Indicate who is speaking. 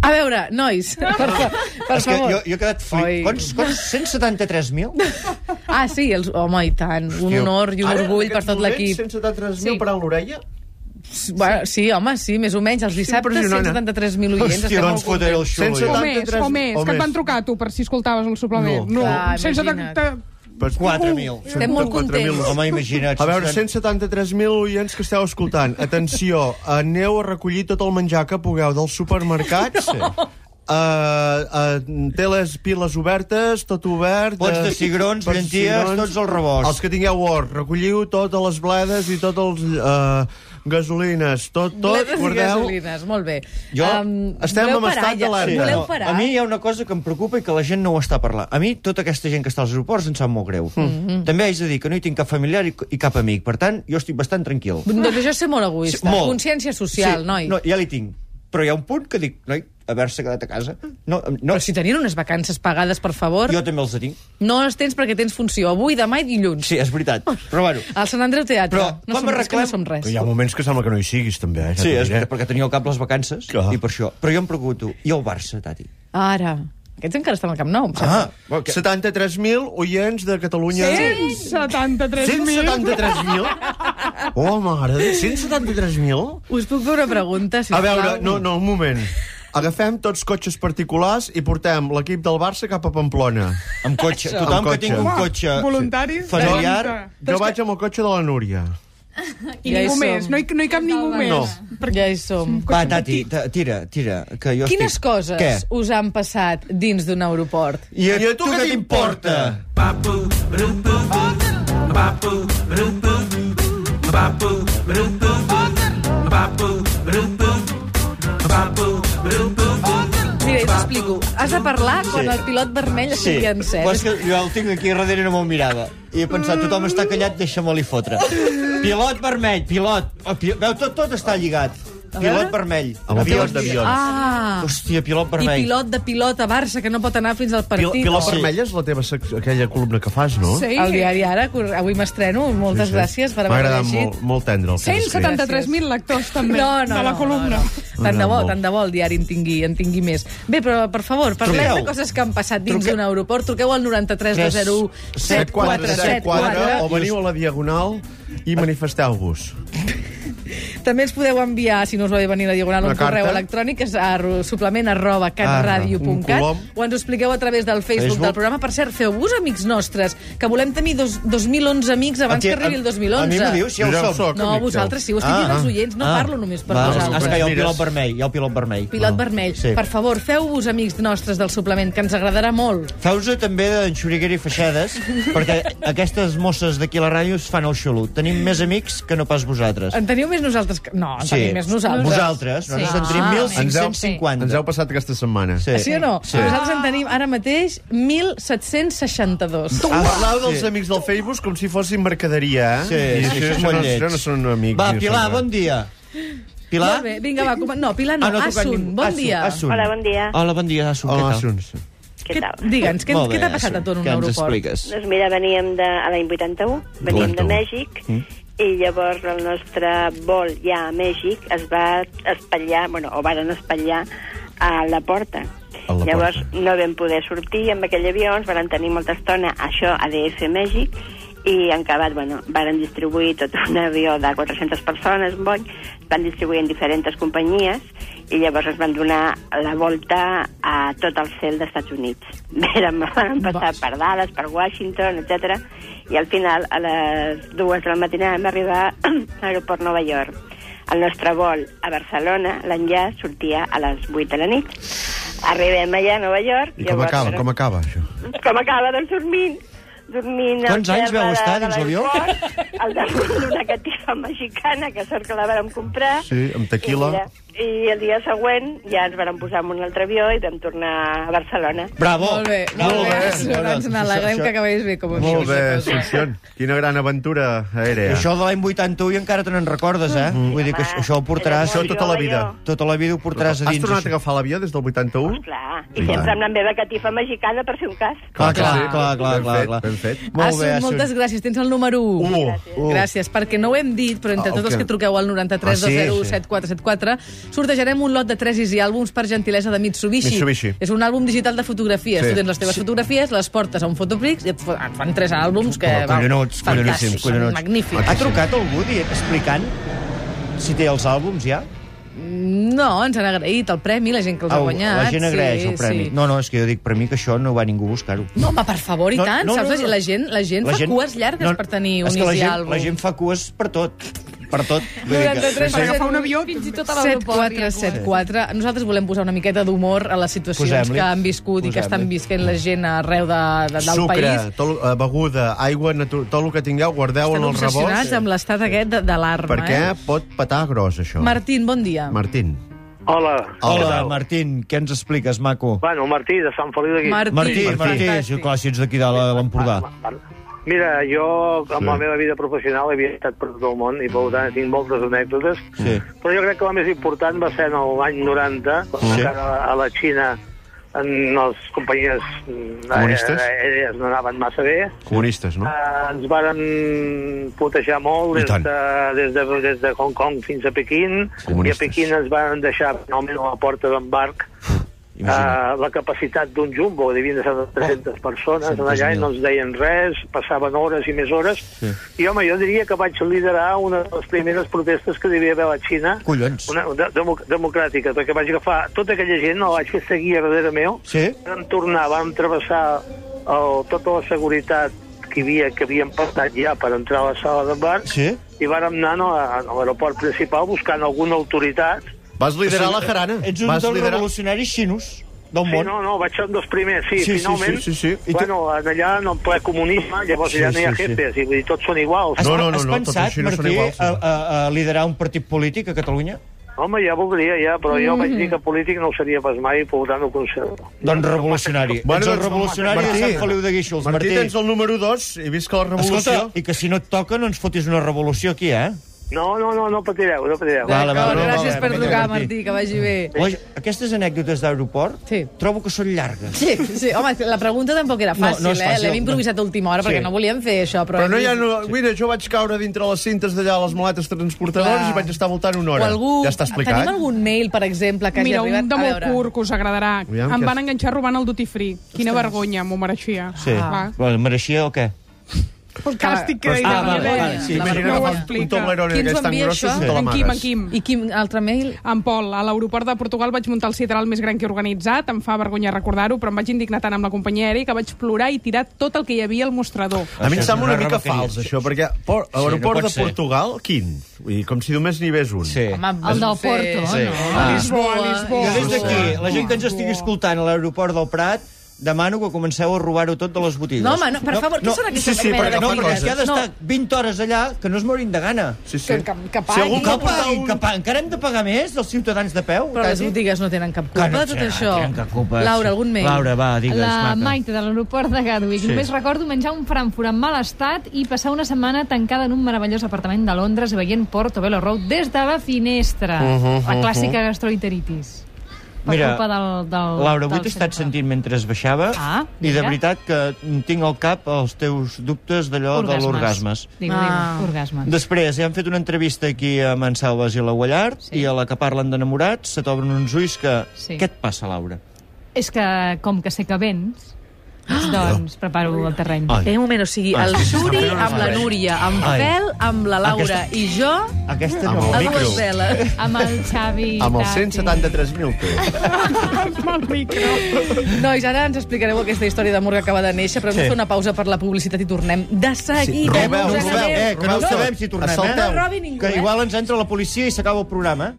Speaker 1: A veure, nois, per, fa- per
Speaker 2: És que
Speaker 1: favor.
Speaker 2: jo, jo he quedat
Speaker 1: Oi.
Speaker 2: fluid. Quants, quants? 173.000?
Speaker 1: Ah, sí, els, home, i tant. Un honor i un orgull per tot l'equip.
Speaker 3: 173.000
Speaker 1: Sí.
Speaker 3: sí. per a l'orella?
Speaker 1: Bueno, sí, home, sí, més o menys. Els dissabtes,
Speaker 3: Impressionant, eh?
Speaker 1: 173.000 oients.
Speaker 2: Hòstia,
Speaker 1: estem molt contents.
Speaker 2: doncs fotré el xulo.
Speaker 3: Sense
Speaker 2: jo.
Speaker 4: O
Speaker 3: tant.
Speaker 4: més, o més,
Speaker 3: O
Speaker 4: que et
Speaker 3: més.
Speaker 4: van trucar a tu per si escoltaves el suplement.
Speaker 2: No.
Speaker 1: Clar,
Speaker 4: sense de,
Speaker 1: imagina't.
Speaker 4: de,
Speaker 3: Per
Speaker 2: 4.000.
Speaker 1: Estem molt contents.
Speaker 2: Home, imagina't.
Speaker 3: A veure,
Speaker 2: sense-
Speaker 3: 173.000 oients que esteu escoltant. Atenció, eh, aneu a recollir tot el menjar que pugueu dels supermercats. No. Uh, uh, té les piles obertes, tot obert.
Speaker 2: Pots
Speaker 3: eh,
Speaker 2: de cigrons,
Speaker 3: pots de
Speaker 2: llenties, tots els rebosts.
Speaker 3: Els que tingueu or, recolliu totes les bledes i tot els... Uh, gasolines, tot, tot,
Speaker 1: Bledes i
Speaker 3: guardeu...
Speaker 1: gasolines, molt bé.
Speaker 2: Jo-
Speaker 3: estem
Speaker 1: voleu
Speaker 3: en
Speaker 1: parar
Speaker 3: estat
Speaker 1: ja?
Speaker 3: d'alerta.
Speaker 1: Voleu
Speaker 2: no,
Speaker 1: parar?
Speaker 2: A mi hi ha una cosa que em preocupa i que la gent no ho està parlant. A mi tota aquesta gent que està als aeroports em sap molt greu.
Speaker 1: Mm-hmm.
Speaker 2: Mm-hmm. També haig de dir que no hi tinc cap familiar i, i cap amic. Per tant, jo estic bastant tranquil.
Speaker 1: Doncs això és ser molt egoista.
Speaker 2: Sí, molt.
Speaker 1: Consciència social,
Speaker 2: sí,
Speaker 1: noi.
Speaker 2: No, ja li tinc. Però hi ha un punt que dic, noi, haver-se quedat a casa. No, no,
Speaker 1: Però si tenien unes vacances pagades, per favor,
Speaker 2: jo també els tinc.
Speaker 1: no les tens perquè tens funció avui, demà i dilluns.
Speaker 2: Sí, és veritat. Però bueno,
Speaker 1: Al Sant Andreu Teatre.
Speaker 2: Però
Speaker 1: no
Speaker 2: com
Speaker 1: som res, que no
Speaker 2: arreglem-
Speaker 1: som res.
Speaker 3: Hi ha moments que sembla que no hi siguis, també. Eh? Ja
Speaker 2: sí,
Speaker 3: t'ho
Speaker 2: és
Speaker 3: diré.
Speaker 2: veritat, perquè tenia al cap les vacances
Speaker 3: Clar.
Speaker 2: i per això. Però jo em pregunto, i el Barça, Tati?
Speaker 1: Ara. Aquests encara estan al Camp Nou. em sembla.
Speaker 2: Ah, bueno, que...
Speaker 3: 73.000 oients de Catalunya.
Speaker 4: 173.000.
Speaker 3: 173.000? Oh, mare, de- 173.000?
Speaker 1: Us puc fer una pregunta,
Speaker 3: A
Speaker 1: sisplau?
Speaker 3: veure, no, no, un moment. Agafem tots cotxes particulars i portem l'equip del Barça cap a Pamplona.
Speaker 2: amb cotxe.
Speaker 3: Això.
Speaker 2: Tothom
Speaker 3: Amb
Speaker 2: que tingui un
Speaker 3: cotxe.
Speaker 2: cotxe
Speaker 4: Voluntaris,
Speaker 2: familiar...
Speaker 4: trenta.
Speaker 3: Jo vaig amb el cotxe de la Núria.
Speaker 4: I
Speaker 1: Ja hi
Speaker 4: ningú
Speaker 1: som.
Speaker 4: més, no hi, no hi cap ningú
Speaker 3: Barça.
Speaker 4: més.
Speaker 3: No.
Speaker 1: Ja hi som.
Speaker 2: Va, Tati, ta- tira, tira, que jo
Speaker 1: Quines
Speaker 2: estic...
Speaker 1: coses
Speaker 2: Què?
Speaker 1: us han passat dins d'un aeroport?
Speaker 2: I a, I a tu, què t'importa?
Speaker 1: Mira, us explico. Has de parlar quan
Speaker 2: Sí.
Speaker 1: el pilot vermell es sí. encès.
Speaker 2: però és que jo el tinc aquí darrere i no m'ho mirava. I he pensat, tothom està callat, deixa-me-li fotre. Pilot vermell, pilot. Oh, pi... Veu, tot, tot està lligat. Pilot vermell.
Speaker 3: Amb el pilot
Speaker 2: Avions.
Speaker 3: d'avions.
Speaker 1: Ah,
Speaker 2: Hòstia, pilot
Speaker 1: i
Speaker 2: vermell.
Speaker 1: pilot de pilot a Barça, que no pot anar fins al
Speaker 3: Pil
Speaker 1: partit.
Speaker 3: Pilar
Speaker 2: Sí.
Speaker 3: Vermella és la teva sec- aquella columna que fas, no?
Speaker 4: Sí.
Speaker 1: El diari Ara, cor- avui m'estreno. Moltes
Speaker 3: Sí, sí.
Speaker 1: gràcies per
Speaker 3: M'ha
Speaker 1: haver
Speaker 3: agradat
Speaker 1: llegit.
Speaker 3: molt, molt tendre el que has escrit.
Speaker 4: 173.000 lectors, també,
Speaker 1: No, no,
Speaker 4: de la
Speaker 1: no,
Speaker 4: columna.
Speaker 1: No, no. Tant de bo,
Speaker 3: Molt.
Speaker 1: tant de bo el diari en tingui, en tingui més. Bé, però, per favor, parlem
Speaker 2: Truqueu.
Speaker 1: de coses que han passat dins
Speaker 2: Truqueu.
Speaker 1: d'un aeroport. Truqueu al 93
Speaker 2: Tres,
Speaker 1: 01
Speaker 2: set, quatre, set, quatre,
Speaker 1: 7474.
Speaker 3: o veniu a la Diagonal i manifesteu-vos.
Speaker 1: També ens podeu enviar, si no us vau venir a la Diagonal,
Speaker 3: Una
Speaker 1: un correu
Speaker 3: carta.
Speaker 1: electrònic, és a ro- suplement arroba
Speaker 3: un
Speaker 1: catradio.cat,
Speaker 3: colom.
Speaker 1: o ens ho expliqueu a través del Facebook,
Speaker 2: Facebook.
Speaker 1: del programa. Per cert, feu-vos amics nostres, que volem tenir dos, 2.011 amics abans
Speaker 2: Aquí-
Speaker 1: que arribi el
Speaker 2: a- A mi
Speaker 1: 2011.
Speaker 2: m'ho dius, si ja
Speaker 3: Jo ja
Speaker 2: ho
Speaker 3: ho
Speaker 2: som.
Speaker 3: soc.
Speaker 1: No,
Speaker 3: amic teu.
Speaker 1: vosaltres sí, ho estic dient als oients, no parlo només per vosaltres.
Speaker 2: Ah, És que hi ha el
Speaker 3: Mires.
Speaker 2: pilot vermell, hi ha el pilot vermell.
Speaker 1: Pilot vermell.
Speaker 2: Ah, Sí.
Speaker 1: Per favor, feu-vos amics nostres del suplement, que ens agradarà molt.
Speaker 2: Feu-se també d'enxuriguera i feixedes, perquè aquestes mosses d'aquí a la ràdio es fan el xulo. Tenim més amics que no pas vosaltres.
Speaker 1: En teniu més nosaltres que... No, en teniu més nosaltres. Ah.
Speaker 2: Vosaltres. Ah, Sí. Nosaltres en tenim
Speaker 3: Ens heu,
Speaker 2: 1.550.
Speaker 3: ens heu passat aquesta setmana.
Speaker 2: Sí.
Speaker 1: Sí o no? Ah.
Speaker 2: Sí.
Speaker 1: Nosaltres en tenim ara mateix 1.762.
Speaker 3: Ah, Parlau dels amics del Facebook com si fossin mercaderia, eh?
Speaker 2: Sí,
Speaker 3: I
Speaker 2: sí,
Speaker 3: això,
Speaker 2: això és
Speaker 3: això
Speaker 2: molt
Speaker 3: no,
Speaker 2: lleig.
Speaker 3: això no són amics.
Speaker 2: Va,
Speaker 3: ni eh?
Speaker 2: Pilar,
Speaker 3: són res.
Speaker 2: bon dia. Pilar? Ah,
Speaker 1: Molt bé, vinga, va, com... No, Pilar no,
Speaker 3: Ah,
Speaker 2: ha tocat
Speaker 1: Asun,
Speaker 2: ningú.
Speaker 1: bon
Speaker 2: Asun,
Speaker 1: dia.
Speaker 2: Asun.
Speaker 5: Hola, bon dia.
Speaker 2: Hola, bon dia, Asun.
Speaker 3: Hola,
Speaker 2: què tal?
Speaker 3: Asun.
Speaker 5: Què tal?
Speaker 1: Digue'ns, què,
Speaker 2: Molt bé,
Speaker 1: què t'ha passat a
Speaker 2: Asun,
Speaker 1: tu en un
Speaker 2: què ens
Speaker 1: aeroport?
Speaker 2: expliques?
Speaker 5: Doncs mira, veníem de a l'any 81, veníem
Speaker 3: 81.
Speaker 5: de Mèxic,
Speaker 3: Mm.
Speaker 5: i llavors el nostre vol ja a Mèxic es va espatllar, bueno, o varen espatllar a la porta.
Speaker 3: A la
Speaker 5: llavors
Speaker 3: porta.
Speaker 5: no vam poder sortir amb aquell avió, ens varen tenir molta estona a això a DF Mèxic, i han acabat, bueno, varen distribuir tot un avió de 400 persones, un boig, van distribuir en diferents companyies, i llavors es van donar la volta a tot el cel d'Estats Units. Vèrem, van passar per Dallas, per Washington, etc. I al final, a les dues de la matinada, vam arribar a l'aeroport Nova York. El nostre vol a Barcelona, l'enllaç, sortia a les 8 de la nit. Arribem allà a Nova York...
Speaker 3: I com acaba, com acaba, això?
Speaker 5: Com acaba, doncs dormint. Dormint
Speaker 2: Quants anys vau estar dins l'avió?
Speaker 5: Al damunt d'una catifa mexicana, que sort que la vàrem comprar.
Speaker 3: Sí, amb tequila.
Speaker 5: I, mira, I el dia següent ja ens vàrem posar en un altre avió i vam tornar a Barcelona.
Speaker 2: Bravo.
Speaker 1: Molt bé, molt
Speaker 2: Bravo.
Speaker 1: bé.
Speaker 3: Oh, bé.
Speaker 1: Asun, Ens n'alegrem que acabés bé, com a
Speaker 3: Molt bé,
Speaker 1: mínim.
Speaker 3: Asunción. Quina gran aventura
Speaker 2: I
Speaker 3: aèria.
Speaker 2: això de l'any 81 encara te n'en recordes, eh? Vull dir que això- això ho portaràs...
Speaker 3: Mm. Això tota la vida.
Speaker 2: Tota la vida ho portaràs a
Speaker 3: Has
Speaker 2: dins.
Speaker 3: tornat a
Speaker 2: això.
Speaker 3: agafar l'avió des del 81?
Speaker 5: Clar, i
Speaker 3: Sí, clar.
Speaker 5: sempre amb la meva catifa mexicana, per si un cas.
Speaker 2: Clar, clar,
Speaker 1: Clar.
Speaker 2: clar, clar,
Speaker 3: Ben
Speaker 2: clar,
Speaker 3: fet,
Speaker 2: clar.
Speaker 3: ben fet.
Speaker 2: Molt bé,
Speaker 1: Asun, Ah, moltes
Speaker 2: Asun.
Speaker 1: gràcies. Tens el número 1.
Speaker 3: U.
Speaker 1: Gràcies, perquè no ho hem dit, però entre
Speaker 3: Ah,
Speaker 1: tots els
Speaker 3: ok.
Speaker 1: que truqueu al 93
Speaker 3: Ah, sí,
Speaker 1: 20
Speaker 3: sí.
Speaker 1: 7474 sortejarem un lot de tresis i àlbums per gentilesa de Mitsubishi.
Speaker 3: Mitsubishi.
Speaker 1: És un àlbum digital de fotografies.
Speaker 3: Sí.
Speaker 1: Tu tens les teves fotografies, les portes a un fotoprix i et fo- et fan tres àlbums que...
Speaker 2: Però,
Speaker 1: va,
Speaker 2: collonuts,
Speaker 1: fantàstics,
Speaker 2: collonuts, collonuts. Ha
Speaker 1: Magnífics.
Speaker 2: trucat algú dient, explicant si té els àlbums ja?
Speaker 1: No, ens han agraït el premi, la gent que els ha
Speaker 2: Au,
Speaker 1: guanyat.
Speaker 2: la gent agraeix
Speaker 1: sí,
Speaker 2: el premi.
Speaker 1: Sí.
Speaker 2: No, no, és que jo dic, per mi que això no va ningú a buscar-ho.
Speaker 1: No, home, per favor, i
Speaker 2: No,
Speaker 1: tant.
Speaker 2: no,
Speaker 1: Saps?
Speaker 2: no, no.
Speaker 1: La gent, la gent fa cues llargues per tenir un
Speaker 2: és que la
Speaker 1: Easy
Speaker 2: gent,
Speaker 1: Album.
Speaker 2: la gent fa cues per tot. Per tot. Vull dir que-
Speaker 1: 93
Speaker 4: Per agafar un avió,
Speaker 6: Fins i tot a l'aeroport.
Speaker 1: 7474. Nosaltres volem posar una miqueta d'humor a les situacions
Speaker 2: Posem-li.
Speaker 1: que han viscut i que
Speaker 2: Posem-li.
Speaker 1: estan visquent la gent arreu de, de, del
Speaker 3: Sucre,
Speaker 1: país.
Speaker 3: tot, eh, beguda, aigua, natu- tot el que tingueu, guardeu en
Speaker 1: Estan
Speaker 3: el
Speaker 1: obsessionats
Speaker 3: rebost,
Speaker 1: amb l'estat aquest de, de l'arma.
Speaker 3: perquè
Speaker 1: Eh?
Speaker 3: pot petar gros, això.
Speaker 1: Martín, bon dia.
Speaker 3: Martín.
Speaker 7: Hola.
Speaker 2: Hola, Martín, què ens expliques, maco?
Speaker 7: Bueno, Martí, de Sant Feliu d'aquí.
Speaker 1: Martí.
Speaker 2: Martí,
Speaker 1: Martí.
Speaker 2: Martí,
Speaker 1: Fantàstic.
Speaker 2: sí, clar, si ets d'aquí de la- de l'Empordà.
Speaker 7: Ah, Mira, jo, amb
Speaker 3: Sí.
Speaker 7: sí. la meva vida professional, havia estat per tot el món i, per tant, tinc moltes anècdotes.
Speaker 2: Sí.
Speaker 7: Però jo crec que la més important va ser en l'any 90, quan
Speaker 2: Sí.
Speaker 7: encara a la Xina en les companyies mm,
Speaker 3: Comunistes?
Speaker 7: aèries no anaven massa bé.
Speaker 3: Comunistes, no?
Speaker 7: Eh, ens varen putejar molt
Speaker 3: I
Speaker 7: des
Speaker 3: tant.
Speaker 7: de, des, de, des de Hong Kong fins a Pequín. I
Speaker 3: Comunistes.
Speaker 7: a Pequín ens van deixar finalment a la porta d'embarc eh,
Speaker 2: Imagina't.
Speaker 7: la capacitat d'un jumbo, devien de ser de 300 persones, en allà i no ens deien res, passaven hores i més hores. Sí. I home, jo diria que vaig liderar una de les primeres protestes que devia haver a la Xina,
Speaker 2: Collons.
Speaker 7: una de, democ- democràtica, perquè vaig agafar tota aquella gent, la vaig fer seguir a darrere meu,
Speaker 2: Sí?
Speaker 7: vam tornar, vam travessar el, tota la seguretat que hi havia, que havíem passat ja per entrar a la sala d'embarc,
Speaker 2: Sí?
Speaker 7: i vàrem anar no, a, a l'aeroport principal buscant alguna autoritat.
Speaker 3: Vas liderar
Speaker 2: O
Speaker 3: la
Speaker 2: sigui,
Speaker 3: jarana.
Speaker 2: Ets un
Speaker 3: Vas
Speaker 2: dels
Speaker 3: liderar...
Speaker 2: revolucionaris xinos del
Speaker 7: Sí,
Speaker 2: món.
Speaker 7: no, no, vaig ser un dels primers, sí,
Speaker 2: Sí, sí,
Speaker 7: finalment.
Speaker 2: sí, sí, sí. I tu-
Speaker 7: Bueno, en allà en el ple comunisme, llavors
Speaker 2: Sí,
Speaker 7: sí, ja no hi ha
Speaker 2: sí, sí.
Speaker 7: jefes, sí. i vull dir, tots són iguals.
Speaker 2: Has,
Speaker 3: No, no, no,
Speaker 2: has
Speaker 3: no, tots
Speaker 2: pensat,
Speaker 3: els xinos són
Speaker 2: Martí,
Speaker 3: iguals, sí.
Speaker 2: a, a, a liderar un partit polític a Catalunya?
Speaker 7: Home, ja voldria, ja, però jo vaig dir que polític no ho seria pas mai, i per tant ho conservo.
Speaker 2: Doncs revolucionari. Bueno, ets el
Speaker 3: doncs,
Speaker 2: revolucionari Martí, de Sant Feliu de Guíxols,
Speaker 3: Martí,
Speaker 2: Martí.
Speaker 3: tens el número 2 i visca la revolució.
Speaker 2: Escolta, i que si no et toca no ens fotis una revolució aquí, eh?
Speaker 7: No, no, no, no patireu, no patireu.
Speaker 2: Va. Vale, vale,
Speaker 1: D'acord,
Speaker 2: vale,
Speaker 1: gràcies
Speaker 2: vale,
Speaker 1: per
Speaker 2: vinga,
Speaker 1: trucar,
Speaker 2: Martí.
Speaker 1: Martí, que vagi bé.
Speaker 2: La, aquestes anècdotes d'aeroport
Speaker 1: Sí.
Speaker 2: trobo que són llargues.
Speaker 1: Sí, sí, home, la pregunta tampoc era
Speaker 2: No,
Speaker 1: fàcil,
Speaker 2: no és
Speaker 1: eh?
Speaker 2: fàcil,
Speaker 1: L'hem improvisat a última hora perquè
Speaker 2: Sí.
Speaker 1: no volíem fer això. Però,
Speaker 3: Però no
Speaker 1: hem
Speaker 3: hi ha...
Speaker 1: vist-
Speaker 3: No, mira, jo vaig caure dintre les cintes d'allà, les maletes transportadores,
Speaker 1: Clar.
Speaker 3: i vaig estar voltant una
Speaker 1: O
Speaker 3: hora.
Speaker 1: algú...
Speaker 3: Ja està explicat.
Speaker 1: Tenim algun mail, per exemple, que
Speaker 4: Mira,
Speaker 1: hagi arribat?
Speaker 4: un de
Speaker 1: A
Speaker 4: molt
Speaker 1: veure.
Speaker 4: curt que us agradarà.
Speaker 3: Aviam
Speaker 4: em
Speaker 3: què
Speaker 4: van
Speaker 3: és.
Speaker 4: enganxar robant el duty free. Quina vergonya, m'ho mereixia.
Speaker 2: Sí. Ah.
Speaker 4: Clar.
Speaker 2: Bueno, mereixia o què?
Speaker 4: Fantàstic que
Speaker 3: Però
Speaker 4: deia.
Speaker 3: està-
Speaker 2: Ah, vale,
Speaker 4: Vergonya.
Speaker 2: vale, sí.
Speaker 4: No
Speaker 3: Imagina
Speaker 4: ho
Speaker 3: agafar un-
Speaker 4: explica.
Speaker 3: un toblerone
Speaker 1: Qui ens ho
Speaker 3: d'aquests tan
Speaker 1: envia,
Speaker 3: grossos
Speaker 1: això?
Speaker 3: i te
Speaker 4: En Quim, en
Speaker 3: l'amagues.
Speaker 4: Quim.
Speaker 1: I quin altre mail?
Speaker 4: En Pol, a l'aeroport de Portugal vaig muntar el sideral més gran que he organitzat, em fa vergonya recordar-ho, però em vaig indignar tant amb la companyia aèria que vaig plorar i tirar tot el que hi havia al mostrador.
Speaker 3: A mi
Speaker 2: Això
Speaker 3: em
Speaker 2: és
Speaker 3: sembla
Speaker 2: una
Speaker 3: una mica
Speaker 2: rebequeria.
Speaker 3: fals, això, perquè por,
Speaker 2: no
Speaker 3: aeroport
Speaker 2: pot
Speaker 3: de
Speaker 2: ser.
Speaker 3: Portugal, quin? Vull dir, com si només n'hi hagués un.
Speaker 2: Sí.
Speaker 1: Home, doncs,
Speaker 6: El del
Speaker 1: sí.
Speaker 6: Porto,
Speaker 2: Sí.
Speaker 6: no?
Speaker 2: Ah.
Speaker 4: Lisboa,
Speaker 2: Jo
Speaker 4: Lisboa.
Speaker 2: des d'aquí, la gent que ens estigui escoltant a l'aeroport del Prat, demano que comenceu a robar-ho tot de les botigues.
Speaker 1: No, home, no, per favor, què són aquestes
Speaker 3: sí, sí,
Speaker 1: mena
Speaker 3: perquè
Speaker 1: de
Speaker 2: No,
Speaker 3: fa
Speaker 2: perquè
Speaker 1: botigues?
Speaker 2: és que ha d'estar 20 hores allà que no es morin de gana.
Speaker 3: Sí, sí.
Speaker 1: Que, que, que
Speaker 3: Si
Speaker 1: paguin.
Speaker 3: algú
Speaker 2: Que
Speaker 3: vol portar
Speaker 2: paguin,
Speaker 3: un-
Speaker 2: que paguin. Encara hem de pagar més dels ciutadans de peu?
Speaker 1: Però les
Speaker 2: quasi?
Speaker 1: botigues no tenen cap culpa
Speaker 2: Que no
Speaker 1: de tot
Speaker 2: tenen-
Speaker 1: això.
Speaker 2: tenen cap culpa.
Speaker 1: Laura, algun mail?
Speaker 2: Laura, va, Ah, digues,
Speaker 6: La
Speaker 2: maca.
Speaker 6: Maite de l'aeroport de Gatwick.
Speaker 2: Sí.
Speaker 6: Sí. Només recordo menjar un Frankfurt en mal estat i passar una setmana tancada en un meravellós apartament de Londres i veient Portobello Road des de la finestra. Uh -huh, uh -huh. La clàssica gastroenteritis. Per
Speaker 2: Mira,
Speaker 6: culpa del, del,
Speaker 2: Laura, avui
Speaker 6: del
Speaker 2: t'he estat
Speaker 6: centre.
Speaker 2: sentint mentre es baixava
Speaker 6: Ah,
Speaker 2: i de
Speaker 6: mira.
Speaker 2: veritat que tinc al cap els teus dubtes d'allò de l'orgasmes.
Speaker 6: Digo,
Speaker 1: Ah.
Speaker 6: digo, orgasmes.
Speaker 2: Després, ja han fet una entrevista aquí a Mansalves i la Guallart, sí.
Speaker 6: Sí.
Speaker 2: i a la que parlen d'enamorats se t'obren uns ulls que... Sí.
Speaker 6: Sí.
Speaker 2: Què et passa, Laura?
Speaker 6: És que, com que sé que vens, doncs preparo el terreny.
Speaker 2: Ai.
Speaker 1: Eh, un moment, o sigui, el Suri amb la Núria, amb
Speaker 2: Ai.
Speaker 1: Fel, amb la Laura
Speaker 2: Aquesta-
Speaker 1: i jo,
Speaker 2: Aquesta
Speaker 3: Amb
Speaker 2: no.
Speaker 3: el
Speaker 1: a
Speaker 3: micro.
Speaker 1: dues veles.
Speaker 6: Amb el Xavi...
Speaker 3: Amb els
Speaker 6: Tati.
Speaker 3: 173.000 peus.
Speaker 4: Amb el micro.
Speaker 1: Nois, ara ens explicareu aquesta història d'amor que acaba de néixer, però hem de
Speaker 2: Sí.
Speaker 1: fer una pausa per la publicitat i tornem de seguida.
Speaker 3: robeu,
Speaker 1: No us
Speaker 3: robeu.
Speaker 1: acabeu.
Speaker 2: Eh, que no,
Speaker 3: Robeu.
Speaker 2: sabem si tornem,
Speaker 1: No
Speaker 3: Assalteu.
Speaker 2: eh?
Speaker 1: robi ningú,
Speaker 2: que
Speaker 1: eh?
Speaker 2: igual ens entra la policia i s'acaba el programa, eh?